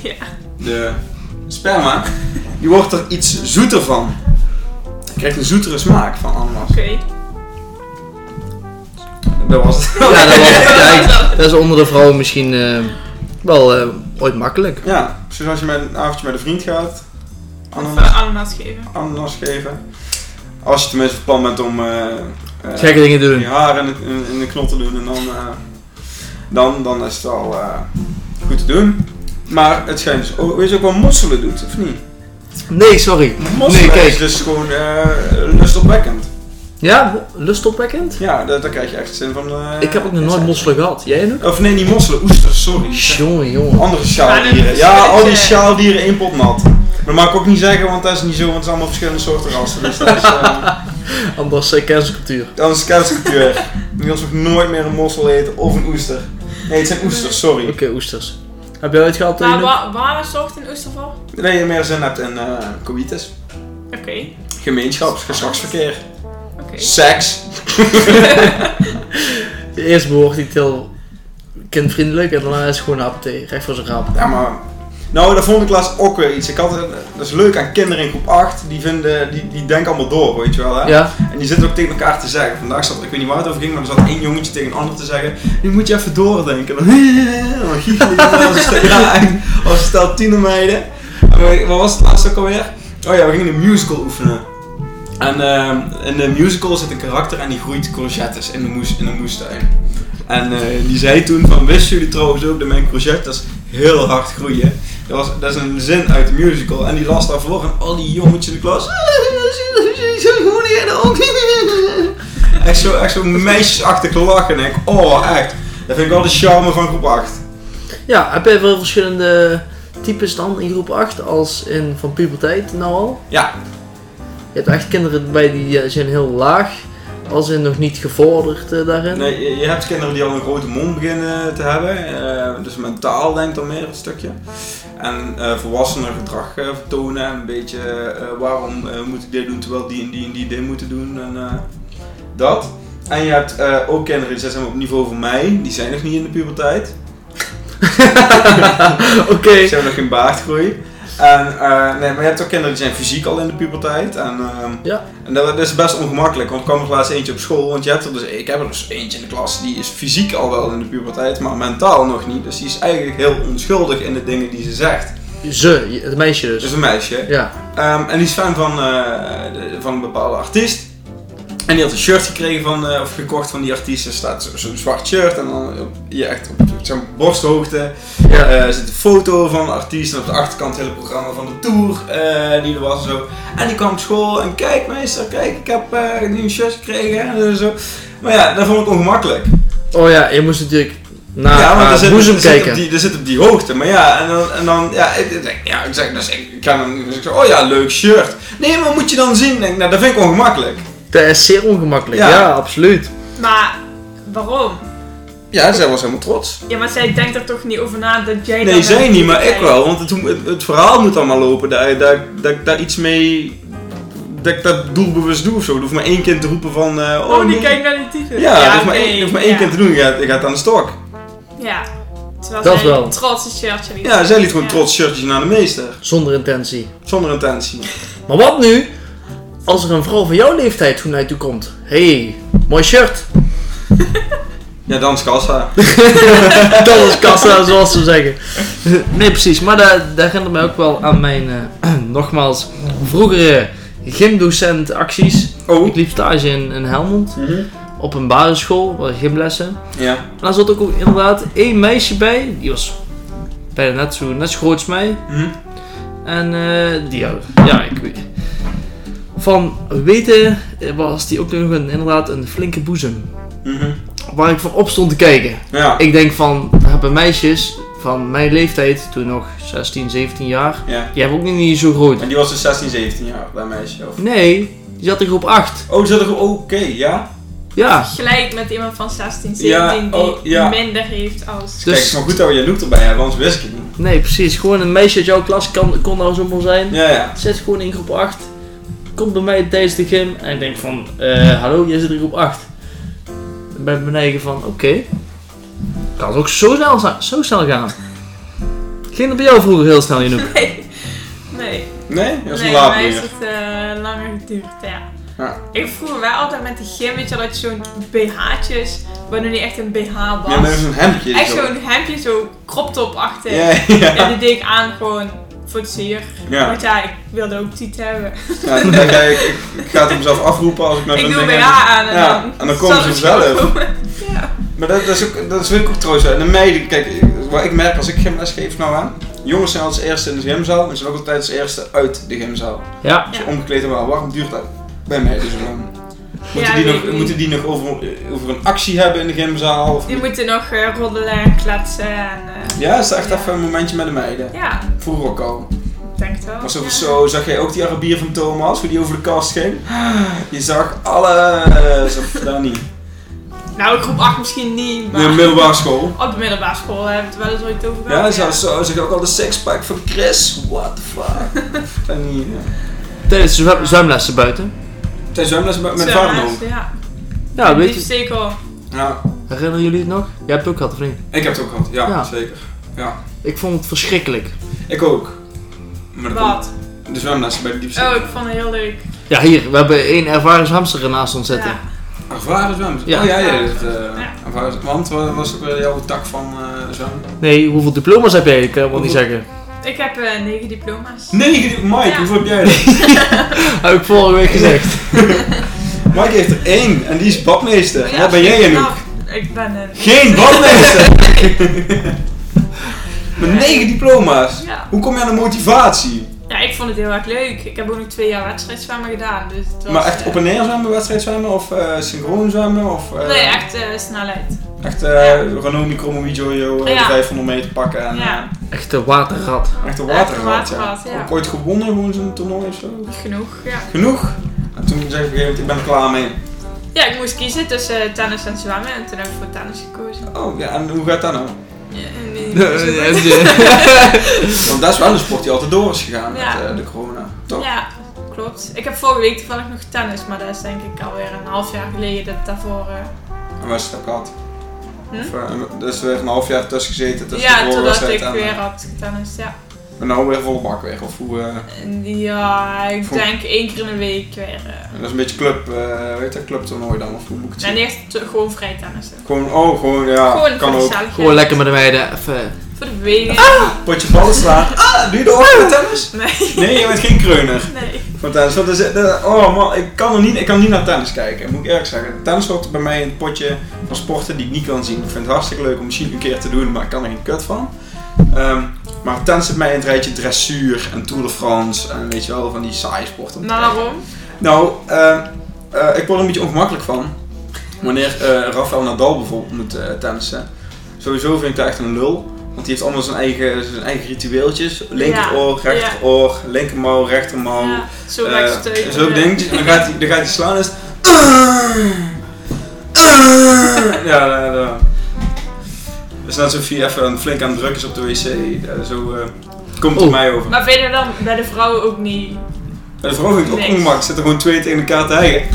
S2: Ja.
S1: de sperma, (laughs) die wordt er iets zoeter van. Je krijgt een zoetere smaak van ananas.
S2: Oké. eh,
S1: Dat was het.
S3: Ja, dat, was, kijk, dat is onder de vrouwen misschien eh, wel eh, ooit makkelijk.
S1: Ja, dus als je met een avondje met een vriend gaat,
S2: Of
S1: ananas,
S2: eh, ananas geven.
S1: ananas geven. Als je tenminste van plan bent om eh, eh,
S3: Gekke dingen doen.
S1: je haar in de, in, in de knot te doen en dan, eh, dan, dan is het al eh, goed te doen. Maar het schijnt dus ook, weet je ook wat mosselen doet, of niet?
S3: Nee, sorry.
S1: Mosselen
S3: Nee, kijk.
S1: is dus gewoon eh lustopwekkend.
S3: Ja, lustopwekkend?
S1: Ja, daar, daar krijg je echt zin van. eh,
S3: Ik heb ook nog nooit
S1: zin.
S3: mosselen gehad. Jij nu?
S1: Of nee, niet mosselen, oesters, sorry.
S3: Jongen, jongen.
S1: Andere
S2: Maar
S1: sjaaldieren.
S2: dat-
S1: Ja, al die sjaaldieren één pot nat. Maar dat mag ik ook niet zeggen, want dat is niet zo, want het zijn allemaal verschillende soorten rassen. Dus dat is, eh,
S3: Anders uh, cancelcultuur.
S1: dat is kenscultuur. Niels mag nooit meer een mossel eten of een oester. Nee, het zijn oesters, sorry.
S3: Oké, oesters. Heb jij ooit gehad?
S2: Nou, Maar wa
S3: Lino?
S2: waar zorgt een oester voor?
S1: Nee, je meer zin hebt in eh coïtus.
S2: Oké.
S1: Gemeenschaps, geslachtsverkeer.
S2: Oké.
S1: Seks.
S3: Eerst behoort hij heel kindvriendelijk en daarna is het gewoon AP. Recht voor zijn raap.
S1: Ja, maar... Nou, dat vond ik laatst ook weer iets. Ik had, een- dat is leuk aan kinderen in groep 8. Die, vinden, die, die denken allemaal door, weet je wel. Hè?
S3: Ja?
S1: En die zitten ook tegen elkaar te zeggen. Vandaag zat, ik weet niet waar het over ging, maar er zat één jongetje tegen een ander te zeggen. Nu moet je even doordenken. Dan, dan giechel je dan als een stel- ja, en als een stel tienermeiden. En we- Wat was het laatste ook alweer? Oh ja, we gingen een musical oefenen. En ehm, in de musical zit een karakter en die groeit courgettes in de, moes, in de moestuin. En eh, die zei toen van, wisten jullie trouwens ook dat mijn courgettes heel hard groeien? Dat, was, dat is een zin uit de musical. En die las daarvoor en al die jongetjes in de klas... "Ah, (laughs) Echt zo, echt zo meisjesachtig lachen. En ik, oh echt. Dat vind ik wel de charme van groep 8.
S3: Ja, heb jij veel verschillende types dan in groep 8 als in van puberteit nou al?
S1: Ja.
S3: Je hebt echt kinderen bij die eh, zijn heel laag, als in nog niet gevorderd eh, daarin.
S1: Nee, je- je hebt kinderen die al een grote mond beginnen te hebben. eh, dus mentaal denk ik dan meer een stukje. En eh volwassenen gedrag eh, vertonen. En een beetje eh, waarom eh, moet ik dit doen terwijl die en die en die dit moeten doen. En eh, dat. En je hebt eh, ook kinderen die zijn op het niveau van mij. Die zijn nog niet in de puberteit.
S3: Oké.
S1: Ze hebben nog geen baardgroei. En, eh, nee, maar je hebt ook kinderen die zijn fysiek al in de puberteit. En, ehm,
S3: Ja.
S1: en dat, dat is best ongemakkelijk, want ik kwam er laatst eentje op school. Want je hebt er dus, ik heb er dus eentje in de klas, die is fysiek al wel in de puberteit, maar mentaal nog niet. Dus die is eigenlijk heel onschuldig in de dingen die ze zegt.
S3: Ze, je- het meisje
S1: Dus
S3: dus.
S1: een meisje.
S3: Ja.
S1: Ehm, en die is fan van, eh, de- van een bepaalde artiest. En die had een shirt gekregen van, eh, of gekocht van die artiest. Er staat zo- zo'n zwart shirt en dan op, je echt op zo'n borsthoogte.
S3: Ja.
S1: Eh, er zit een foto van de artiest en op de achterkant het hele programma van de tour eh, die er was en zo. En die kwam op school en kijk meester, kijk ik heb eh, nu een shirt gekregen en zo. Maar ja, dat vond ik ongemakkelijk.
S3: Oh ja, je moest natuurlijk naar
S1: ja,
S3: haar
S1: er
S3: boezem
S1: zit
S3: kijken.
S1: op die, er zit op die hoogte. Maar ja, en dan, en dan ja, ik, ik denk, ja, ik zeg, dus ik, ik ga dan, dus ik zeg, oh ja, leuk shirt. Nee, maar moet je dan zien? Ik Denk, nou, dat vind ik ongemakkelijk.
S3: Dat is zeer ongemakkelijk.
S1: Ja.
S3: Ja, absoluut.
S2: Maar waarom?
S1: Ja, zij was helemaal trots.
S2: Ja, maar zij denkt er toch niet over na dat jij
S1: Nee,
S2: dan
S1: zij
S2: bent.
S1: niet, maar ik wel. Want het, het, het verhaal moet allemaal lopen. Dat, dat, dat ik daar iets mee. Dat ik dat doelbewust doe of zo. Er hoeft maar één kind te roepen van. eh, oh,
S2: Oh, die
S1: nee.
S2: kijkt naar die type.
S1: Ja, er hoeft maar één,
S2: oké,
S1: er hoeft maar één
S2: ja.
S1: kind te doen. Je gaat, je gaat aan de stok.
S2: Ja. Terwijl
S3: Dat
S2: zij
S3: wel.
S2: trots een shirtje liet.
S1: Ja, zij liet gewoon
S2: Ja.
S1: trots shirtjes naar de meester.
S3: Zonder intentie.
S1: Zonder intentie.
S3: Maar wat nu als er een vrouw van jouw leeftijd toen naar je toe komt? hey, mooi
S1: (laughs)
S3: shirt.
S1: Ja, dan is kassa.
S3: Dat is kassa, zoals
S1: (laughs)
S3: ze zeggen. Nee, precies. Maar dat, dat herinnert mij ook wel aan mijn, eh, (clears throat) nogmaals, vroegere gymdocentacties.
S1: Oh. Mhm.
S3: Ik liep stage in, in Helmond, op een basisschool, waar gymlessen.
S1: Ja.
S3: En daar zat ook inderdaad één meisje bij, die was bijna net zo, net zo groot als mij.
S1: Mhm.
S3: En eh, die, ja, ja, ik weet. Van weten eh, was die ook nog een, inderdaad een flinke boezem.
S1: Mhm.
S3: Waar ik van op stond te kijken.
S1: Ja.
S3: Ik denk van, daar hebben meisjes van mijn leeftijd, toen nog 16, 17 jaar,
S1: Ja.
S3: die hebben ook nog niet zo groot.
S1: En die was dus 16, 17 jaar, dat meisje. Of...
S3: Nee, die zat in groep 8.
S1: Oh, zat er gewoon. Oké, ja.
S3: Ja,
S2: Gelijk met iemand van 16, 17
S1: Ja,
S2: die
S1: oh, ja.
S2: minder heeft als...
S1: Kijk, het is
S3: dus
S1: maar goed dat we Janoek erbij hebben, anders wist ik het niet.
S3: nee, precies. Gewoon een meisje uit jouw klas kan, kon nou zomaar zijn.
S1: Ja, ja.
S3: Zet gewoon in groep 8. Komt bij mij tijdens de gym en ik denk van, eh, hallo, jij zit in groep 8. Dan ben ik beneden van, oké. Kan het ook zo snel, za- zo snel gaan. Ging dat bij jou vroeger heel snel, Janoek?
S2: Nee. Nee.
S1: Nee, dat is
S2: nee,
S1: een laat
S2: bij mij is
S1: meer.
S2: het eh, langer geduurd, ja.
S1: Ja.
S2: Ik vroeg wel altijd met de gym, weet je wel, dat je zo'n BH'tjes, wat nu niet echt een BH was.
S1: Ja, maar dat is een hemdje.
S2: echt
S1: zo.
S2: zo'n hemdje, zo crop top achter.
S1: Ja, ja.
S2: En die deed ik aan gewoon voor het zeer.
S1: Ja,
S2: (laughs) Want ja, ik wilde ook tiet hebben.
S1: ja dan denk ik, ik, ik ga het mezelf afroepen als ik naar
S2: ik
S1: zo'n
S2: doe
S1: ding
S2: BH
S1: heb.
S2: aan en
S1: Ja,
S2: dan...
S1: en dan komen
S2: zal
S1: ze
S2: het
S1: vanzelf.
S2: wel komen. (laughs) ja.
S1: Maar dat, dat is ook, dat is ook trouwens. En de meiden, kijk, wat ik merk als ik gymles geef nou aan. Jongens zijn als eerste in de gymzaal en zijn ook altijd als eerste uit de gymzaal.
S3: Ja,
S1: Als je omgekleed hebt, waarom duurt dat bij meiden zo lang? Moeten,
S2: Ja,
S1: die
S2: weet
S1: nog,
S2: ik niet.
S1: moeten die nog over, over een actie hebben in de gymzaal? Of
S2: Die moeten nog eh, roddelen en kletsen en... eh,
S1: Ja, is echt
S2: Ja.
S1: even een momentje met de meiden.
S2: ja,
S1: Vroeger ook al.
S2: ik denk het wel.
S1: Maar zo,
S2: Ja.
S1: zo zag jij ook die Arabier van Thomas, hoe die over de kast ging. Je zag alles, of daar
S2: (laughs)
S1: niet.
S2: Nou, groep 8 misschien niet, maar...
S1: De middelbare school.
S2: Op de middelbare school hebben we het wel eens ooit over
S1: Ja,
S2: gehad.
S1: zo, zo zeg ik ook al de sixpack van Chris. What the
S2: (laughs)
S1: fuck? en hier.
S3: tijdens de zwem- zwemlessen buiten.
S1: Zijn zwemles met mijn
S2: Zo,
S1: vader ook.
S2: naast- Ja,
S3: Ja, weet
S2: Die
S3: je,
S2: stekel.
S1: Ja,
S3: herinneren jullie het nog? Jij hebt het ook gehad, of niet?
S1: ik heb het ook gehad. Ja,
S3: Ja.
S1: zeker. Ja,
S3: Ik vond het verschrikkelijk.
S1: ik ook. Maar dat
S2: Wat?
S1: komt- de zwemlessen bij de diepste.
S2: Oh, ik vond het heel leuk.
S3: Ja, hier, we hebben één ervaren hamster naast ons zitten.
S1: Ervaren zwemmen.
S3: Ja.
S1: Oh ja, ja.
S2: Ja.
S1: Dat, eh,
S2: Ja.
S1: ervaren- Want wat was ook weer jouw tak van eh zwemmen?
S3: Nee, hoeveel diploma's heb jij? Ik kan wel niet
S1: Hoeveel?
S3: zeggen.
S2: Ik heb eh, negen diploma's.
S1: Negen, Mike,
S2: Ja.
S1: hoeveel heb jij er?
S3: Heb ik vorige week gezegd.
S1: Mike heeft er één en die is badmeester.
S2: Ja,
S1: Wat ben jij nu?
S2: nou, Ik ben een...
S1: Geen
S2: (laughs)
S1: badmeester! (laughs) Met negen diploma's.
S2: Ja.
S1: Hoe kom je aan de motivatie?
S2: ja, ik vond het heel erg leuk. Ik heb ook nog twee jaar wedstrijdzwemmen gedaan, dus het was...
S1: Maar echt
S2: eh,
S1: op en neer zwemmen, wedstrijd zwemmen of eh, synchroon zwemmen? Of, eh,
S2: Nee, echt eh, snelheid.
S1: Echt eh Ranomi, Kromo, Jojo, eh,
S2: Ja.
S1: 500 meter pakken en
S2: Ja,
S3: Echt een waterrat.
S1: eh, echt een
S2: Echt
S1: waterrat.
S2: een waterrat, ja.
S1: Ook ooit gewonnen gewoon zo'n toernooi of zo?
S2: genoeg, ja.
S1: Genoeg? En toen zei ik op een gegeven moment, ik ben er klaar mee.
S2: Ja, ik moest kiezen tussen tennis en zwemmen en toen heb ik voor tennis gekozen.
S1: Oh ja, en hoe gaat dat nou?
S2: Ja, en die-
S1: Want dat is wel een sport die altijd door is gegaan
S2: Ja.
S1: met eh, de corona, toch?
S2: Ja, klopt. Ik heb vorige week toevallig nog tennis, maar dat is denk ik alweer een half jaar geleden dat ik daarvoor... eh,
S1: En was het ook had.
S2: Hm?
S1: Of, eh, dus er heeft een half jaar tussen gezeten tussen
S2: ja,
S1: de
S2: totdat
S1: voorwedstrijd
S2: ik
S1: en,
S2: weer had getennist, ja.
S1: en nou weer volle bak weg. Of hoe, eh,
S2: En Ja, ik
S1: Voor-
S2: denk één keer in de week weer. eh.
S1: dat is een beetje club, eh weet je dat, clubtoernooi dan? Of hoe moet ik het
S2: Nee,
S1: zien?
S2: niet echt te- gewoon vrij tennissen.
S1: Gewoon, oh, gewoon, ja,
S2: gewoon voor
S1: kan
S2: de
S1: ook.
S2: gezelligheid.
S3: Gewoon lekker met Ah! de meiden even...
S2: Voor de beweging.
S1: Potje ballen
S2: (laughs)
S1: slaan. Ah, doe je dat ook met tennis?
S2: Nee,
S1: Nee, je bent geen kreuner
S2: nee.
S1: van tennis. Want er zit- er- oh man, ik kan, er niet, ik kan niet naar tennis kijken, moet ik eerlijk zeggen. Tennis wordt bij mij in het potje van sporten die ik niet kan zien. Ik vind het hartstikke leuk om misschien een keer te doen, maar ik kan er geen kut van. Ehm, maar tennis zit mij in het rijtje dressuur en Tour de France en weet je wel, van die saaie sporten. om te
S2: Maar
S1: kijken.
S2: waarom?
S1: Nou, eh, eh, ik word er een beetje ongemakkelijk van. Wanneer eh Rafael Nadal bijvoorbeeld moet eh, tennissen. Sowieso vind ik dat echt een lul. Want die heeft allemaal zijn eigen, zijn eigen ritueeltjes. Linkeroor,
S2: Ja,
S1: rechteroor, linkermouw, rechtermouw.
S2: Ja, zo
S1: Eh,
S2: uh, steunen.
S1: Zulke dingetjes. En dan gaat hij, dan gaat hij slaan en is het- ja, dat, dat. Dus net alsof hij even flink aan het drukken is op de wc. Eh, zo eh, komt het
S3: Oeh.
S1: mij over.
S2: Maar vinden dan bij de vrouwen ook niet?
S1: En de vrouw vindt het ook
S2: Nee.
S1: ongemakkelijk. Zitten gewoon twee tegen elkaar te hijgen.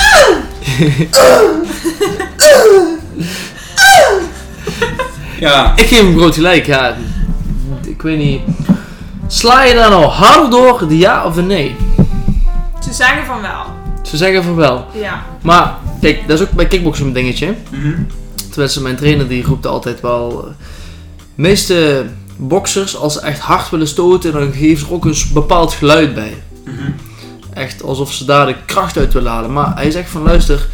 S1: Ja,
S3: Ik geef hem groot gelijk, ja. Ik weet niet. Sla je daar nou harder door, de ja of de nee?
S2: Ze zeggen van wel.
S3: Ze zeggen van wel.
S2: Ja.
S3: Maar, kijk, dat is ook bij kickboksen een dingetje.
S1: Mhm.
S3: Tenminste, mijn trainer die roept altijd wel... eh, De meeste boksers, als ze echt hard willen stoten, dan geven ze er ook een s- bepaald geluid bij.
S1: Mhm.
S3: Echt alsof ze daar de kracht uit willen halen. Maar hij zegt van, luister,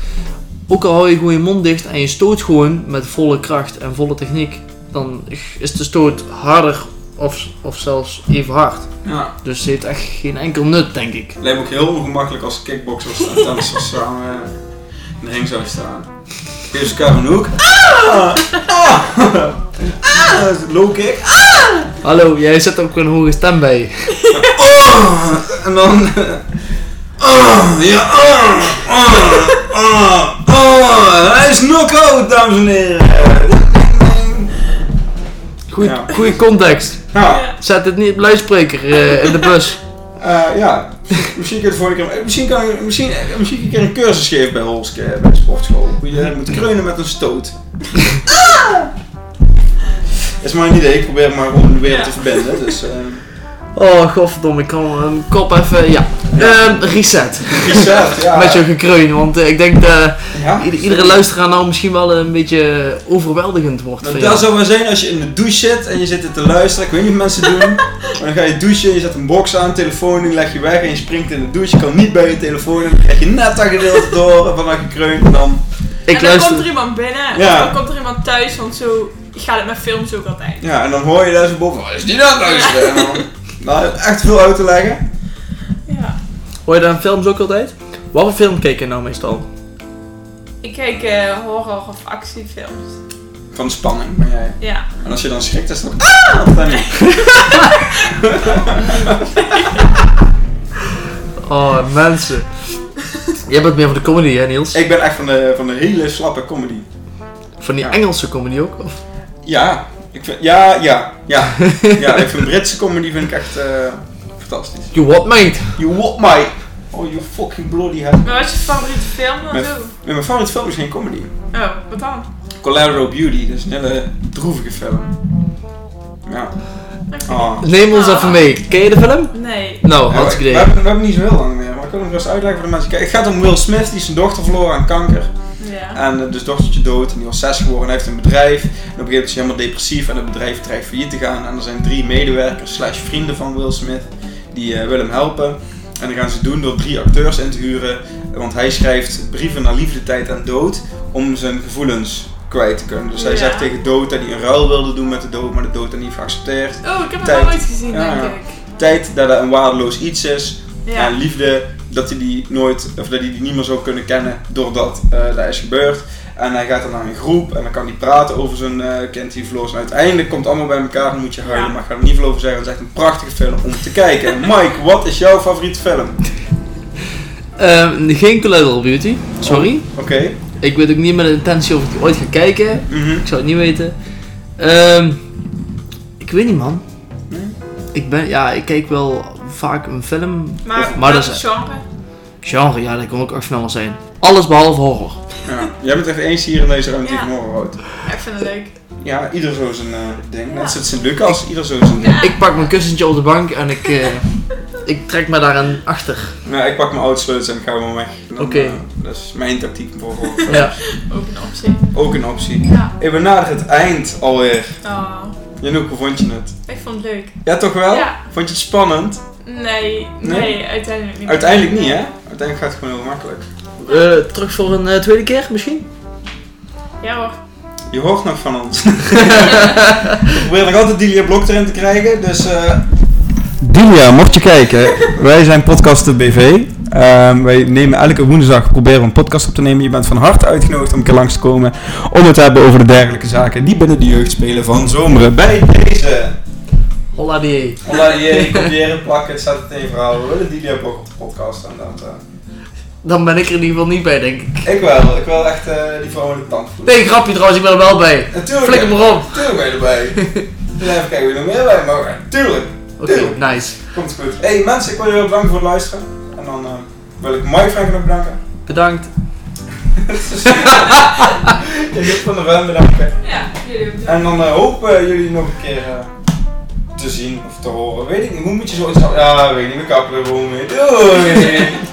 S3: ook al hou je gewoon je mond dicht en je stoot gewoon met volle kracht en volle techniek, dan is de stoot harder of, of zelfs even hard.
S1: ja.
S3: Dus het heeft echt geen enkel nut, denk ik.
S1: Lijkt me ook heel ongemakkelijk als kickboxers en dansers samen eh, in de ring zouden staan. Geef ze elkaar een hoek. Ah! Ah! Ah! Low kick.
S3: Hallo, jij zet ook een hoge stem bij.
S1: Ah! En dan. eh, Ah! Ja! Ah! Ah! Ah! Ah! Hij is knock-out, dames en heren!
S3: Goed,
S1: Ja.
S3: Goede context.
S1: Nou,
S3: Zet het niet op luidspreker eh, in de bus.
S1: Eh, ja, misschien kan, volgende keer, eh, misschien, kan, ik- misschien, eh, misschien kan ik een keer een cursus geven bij Holske, bij de sportschool. Hoe je moet kreunen met een stoot. Dat is maar een idee, ik probeer het maar rond de wereld te verbinden. Dus, eh
S3: Oh, godverdomme, ik kan mijn kop even... Ja, Ehm, reset.
S1: reset, ja.
S3: Met je gekreun, want eh, ik denk dat eh,
S1: ja?
S3: ieder- iedere luisteraar nou misschien wel een beetje overweldigend wordt
S1: Nou,
S3: van
S1: dat
S3: jou.
S1: zou wel zijn als je in de douche zit en je zit dit te luisteren. Ik weet niet wat mensen doen. Maar dan ga je douchen, je zet een box aan, telefoon die leg je weg en je springt in de douche. Je kan niet bij je telefoon en dan krijg je net dat gedeelte door van dat gekreun. En dan
S3: Ik
S2: en dan komt er
S3: luister...
S2: iemand binnen.
S1: Ja.
S2: Of dan komt er iemand thuis, want zo gaat het met films ook altijd.
S1: Ja, en dan hoor je daar zo boven, wat is die nou luisteren? En dan, nou, echt veel uit te leggen.
S2: Ja.
S3: Hoor je dan films ook altijd? Wat voor film keek je nou meestal?
S2: Ik kijk eh, horror of actiefilms.
S1: Van de spanning ben jij.
S2: Ja.
S1: En als je dan schrikt, dan is het dan... Ah! Of dan niet.
S3: Oh, mensen. Jij bent meer van de comedy, hè Niels?
S1: Ik ben echt van de, van de hele slappe comedy.
S3: Van die
S1: Ja.
S3: Engelse comedy ook? Of?
S1: Ja, ik vind, ja, ja, ja. Ja, ik vind Britse comedy vind ik echt eh, fantastisch.
S3: You what, mate?
S1: You what, my... Oh, you fucking bloody hell.
S2: Maar wat is je favoriete film dan
S1: Met-
S2: zo?
S1: Nee, Mijn favoriete film is geen comedy.
S2: Oh, wat dan?
S1: Collateral Beauty, dat is een hele droevige film. Ja. Oh.
S3: Neem ons
S2: Ah.
S3: even mee. Ken je de film?
S2: Nee.
S3: Nou,
S1: Ja, we,
S3: hartstikke
S1: we
S3: idee.
S1: hebben, we hebben niet zo heel lang meer, maar ik kan het best uitleggen voor de mensen. Kijk, het gaat om Will Smith, die zijn dochter verloor aan kanker.
S2: Ja.
S1: En eh, dus dochtertje dood, en die was zes geworden en hij heeft een bedrijf. En op een gegeven moment is hij helemaal depressief en het bedrijf dreigt failliet te gaan. En er zijn drie medewerkers slash vrienden van Will Smith, die eh, willen hem helpen. En dat gaan ze doen door drie acteurs in te huren. Want hij schrijft brieven naar liefde, tijd en dood om zijn gevoelens kwijt te kunnen. Dus hij
S2: Ja.
S1: zegt tegen dood dat hij een ruil wilde doen met de dood, maar de dood dat niet geaccepteerd.
S2: Oh, ik heb het
S1: Tijd.
S2: nog nooit gezien,
S1: Ja,
S2: denk
S1: ja.
S2: ik.
S1: Tijd dat dat een waardeloos iets is.
S2: Ja.
S1: En liefde, dat hij die nooit, of dat hij die niet meer zou kunnen kennen doordat eh dat is gebeurd. En hij gaat dan naar een groep en dan kan hij praten over zijn eh, kind die verloor. is. En uiteindelijk komt het allemaal bij elkaar en moet je huilen.
S2: Ja.
S1: Maar ik ga er niet veel over zeggen, het is echt een prachtige film om te
S2: (laughs)
S1: kijken. Mike, wat is jouw favoriete film?
S3: Ehm, geen Collateral Beauty, sorry.
S1: Oké.
S3: Ik weet ook niet met de intentie of ik die ooit ga kijken.
S1: Mhm.
S3: Ik zou het niet weten. Ehm, ik weet niet, man.
S1: Nee?
S3: Ik ben, ja, ik kijk wel vaak een film.
S2: Maar,
S3: of, maar dus- dat
S2: het
S3: is
S2: genre?
S3: Genre, ja, dat kon ook echt van alles zijn. Alles behalve horror.
S1: Ja. Jij bent echt eens hier in deze ruimte die
S2: Ja.
S1: van morgen houdt.
S2: Ja, ik vind het leuk.
S1: Ja, ieder zo zijn eh, ding.
S2: Ja.
S1: Net zoals Sint-Lucas, ieder zo zijn ding.
S3: Ik pak mijn kussentje op de bank en ik, (laughs) eh, ik trek me daarin achter.
S1: Nou, ik pak mijn oudsleutels en ik ga gewoon weg. Dan,
S3: Oké.
S1: eh, dat is mijn tactiek voor voor-
S3: Ja.
S2: Ook een optie.
S1: (laughs) Ook een optie.
S2: Ja.
S1: Ik benadert het eind alweer.
S2: Oh,
S1: Janoek, hoe vond je het?
S2: ik vond het leuk.
S1: Ja, toch wel?
S2: Ja.
S1: Vond je het spannend?
S2: Nee, nee,
S1: Nee?
S2: uiteindelijk niet.
S1: Uiteindelijk niet, hè? Uiteindelijk gaat het gewoon heel makkelijk.
S3: Eh, terug voor een eh, tweede keer misschien?
S2: Ja hoor.
S1: Je hoort nog van (laughs) ons. We proberen nog altijd Delia Blok erin te krijgen, dus... eh Delia, mocht je kijken, wij zijn Podcasten BV. Ehm, wij nemen elke woensdag, proberen we een podcast op te nemen. Je bent van harte uitgenodigd om een keer langs te komen om het te hebben over de dergelijke zaken die binnen de jeugd spelen van zomeren. Bij deze...
S3: Holla die.
S1: Hola, je kopiëren, plakken, het staat meteen verhaal. We willen Delia Blok op de podcast en dat... eh,
S3: Dan ben ik er in ieder geval niet bij, denk ik.
S1: ik wel, ik wil echt eh, die vrouw in de tand voelen.
S3: Nee, grapje trouwens, ik ben er wel bij.
S1: Natuurlijk.
S3: Flikker maar op.
S1: Tuurlijk ben je erbij. Dus even kijken wie er nog meer bij mag. Tuurlijk.
S3: Oké, nice.
S1: Komt goed. hey, mensen, ik wil jullie wel bedanken voor het luisteren. En dan eh, wil ik Mike Frank nog bedanken.
S3: Bedankt.
S1: Jip van der Ven bedanken.
S2: Ja, jullie ook.
S1: En dan eh, hopen we jullie nog een keer eh, te zien of te horen. Weet ik niet, hoe moet je zoiets... Ja, weet ik niet, we kappen er gewoon mee. Doei!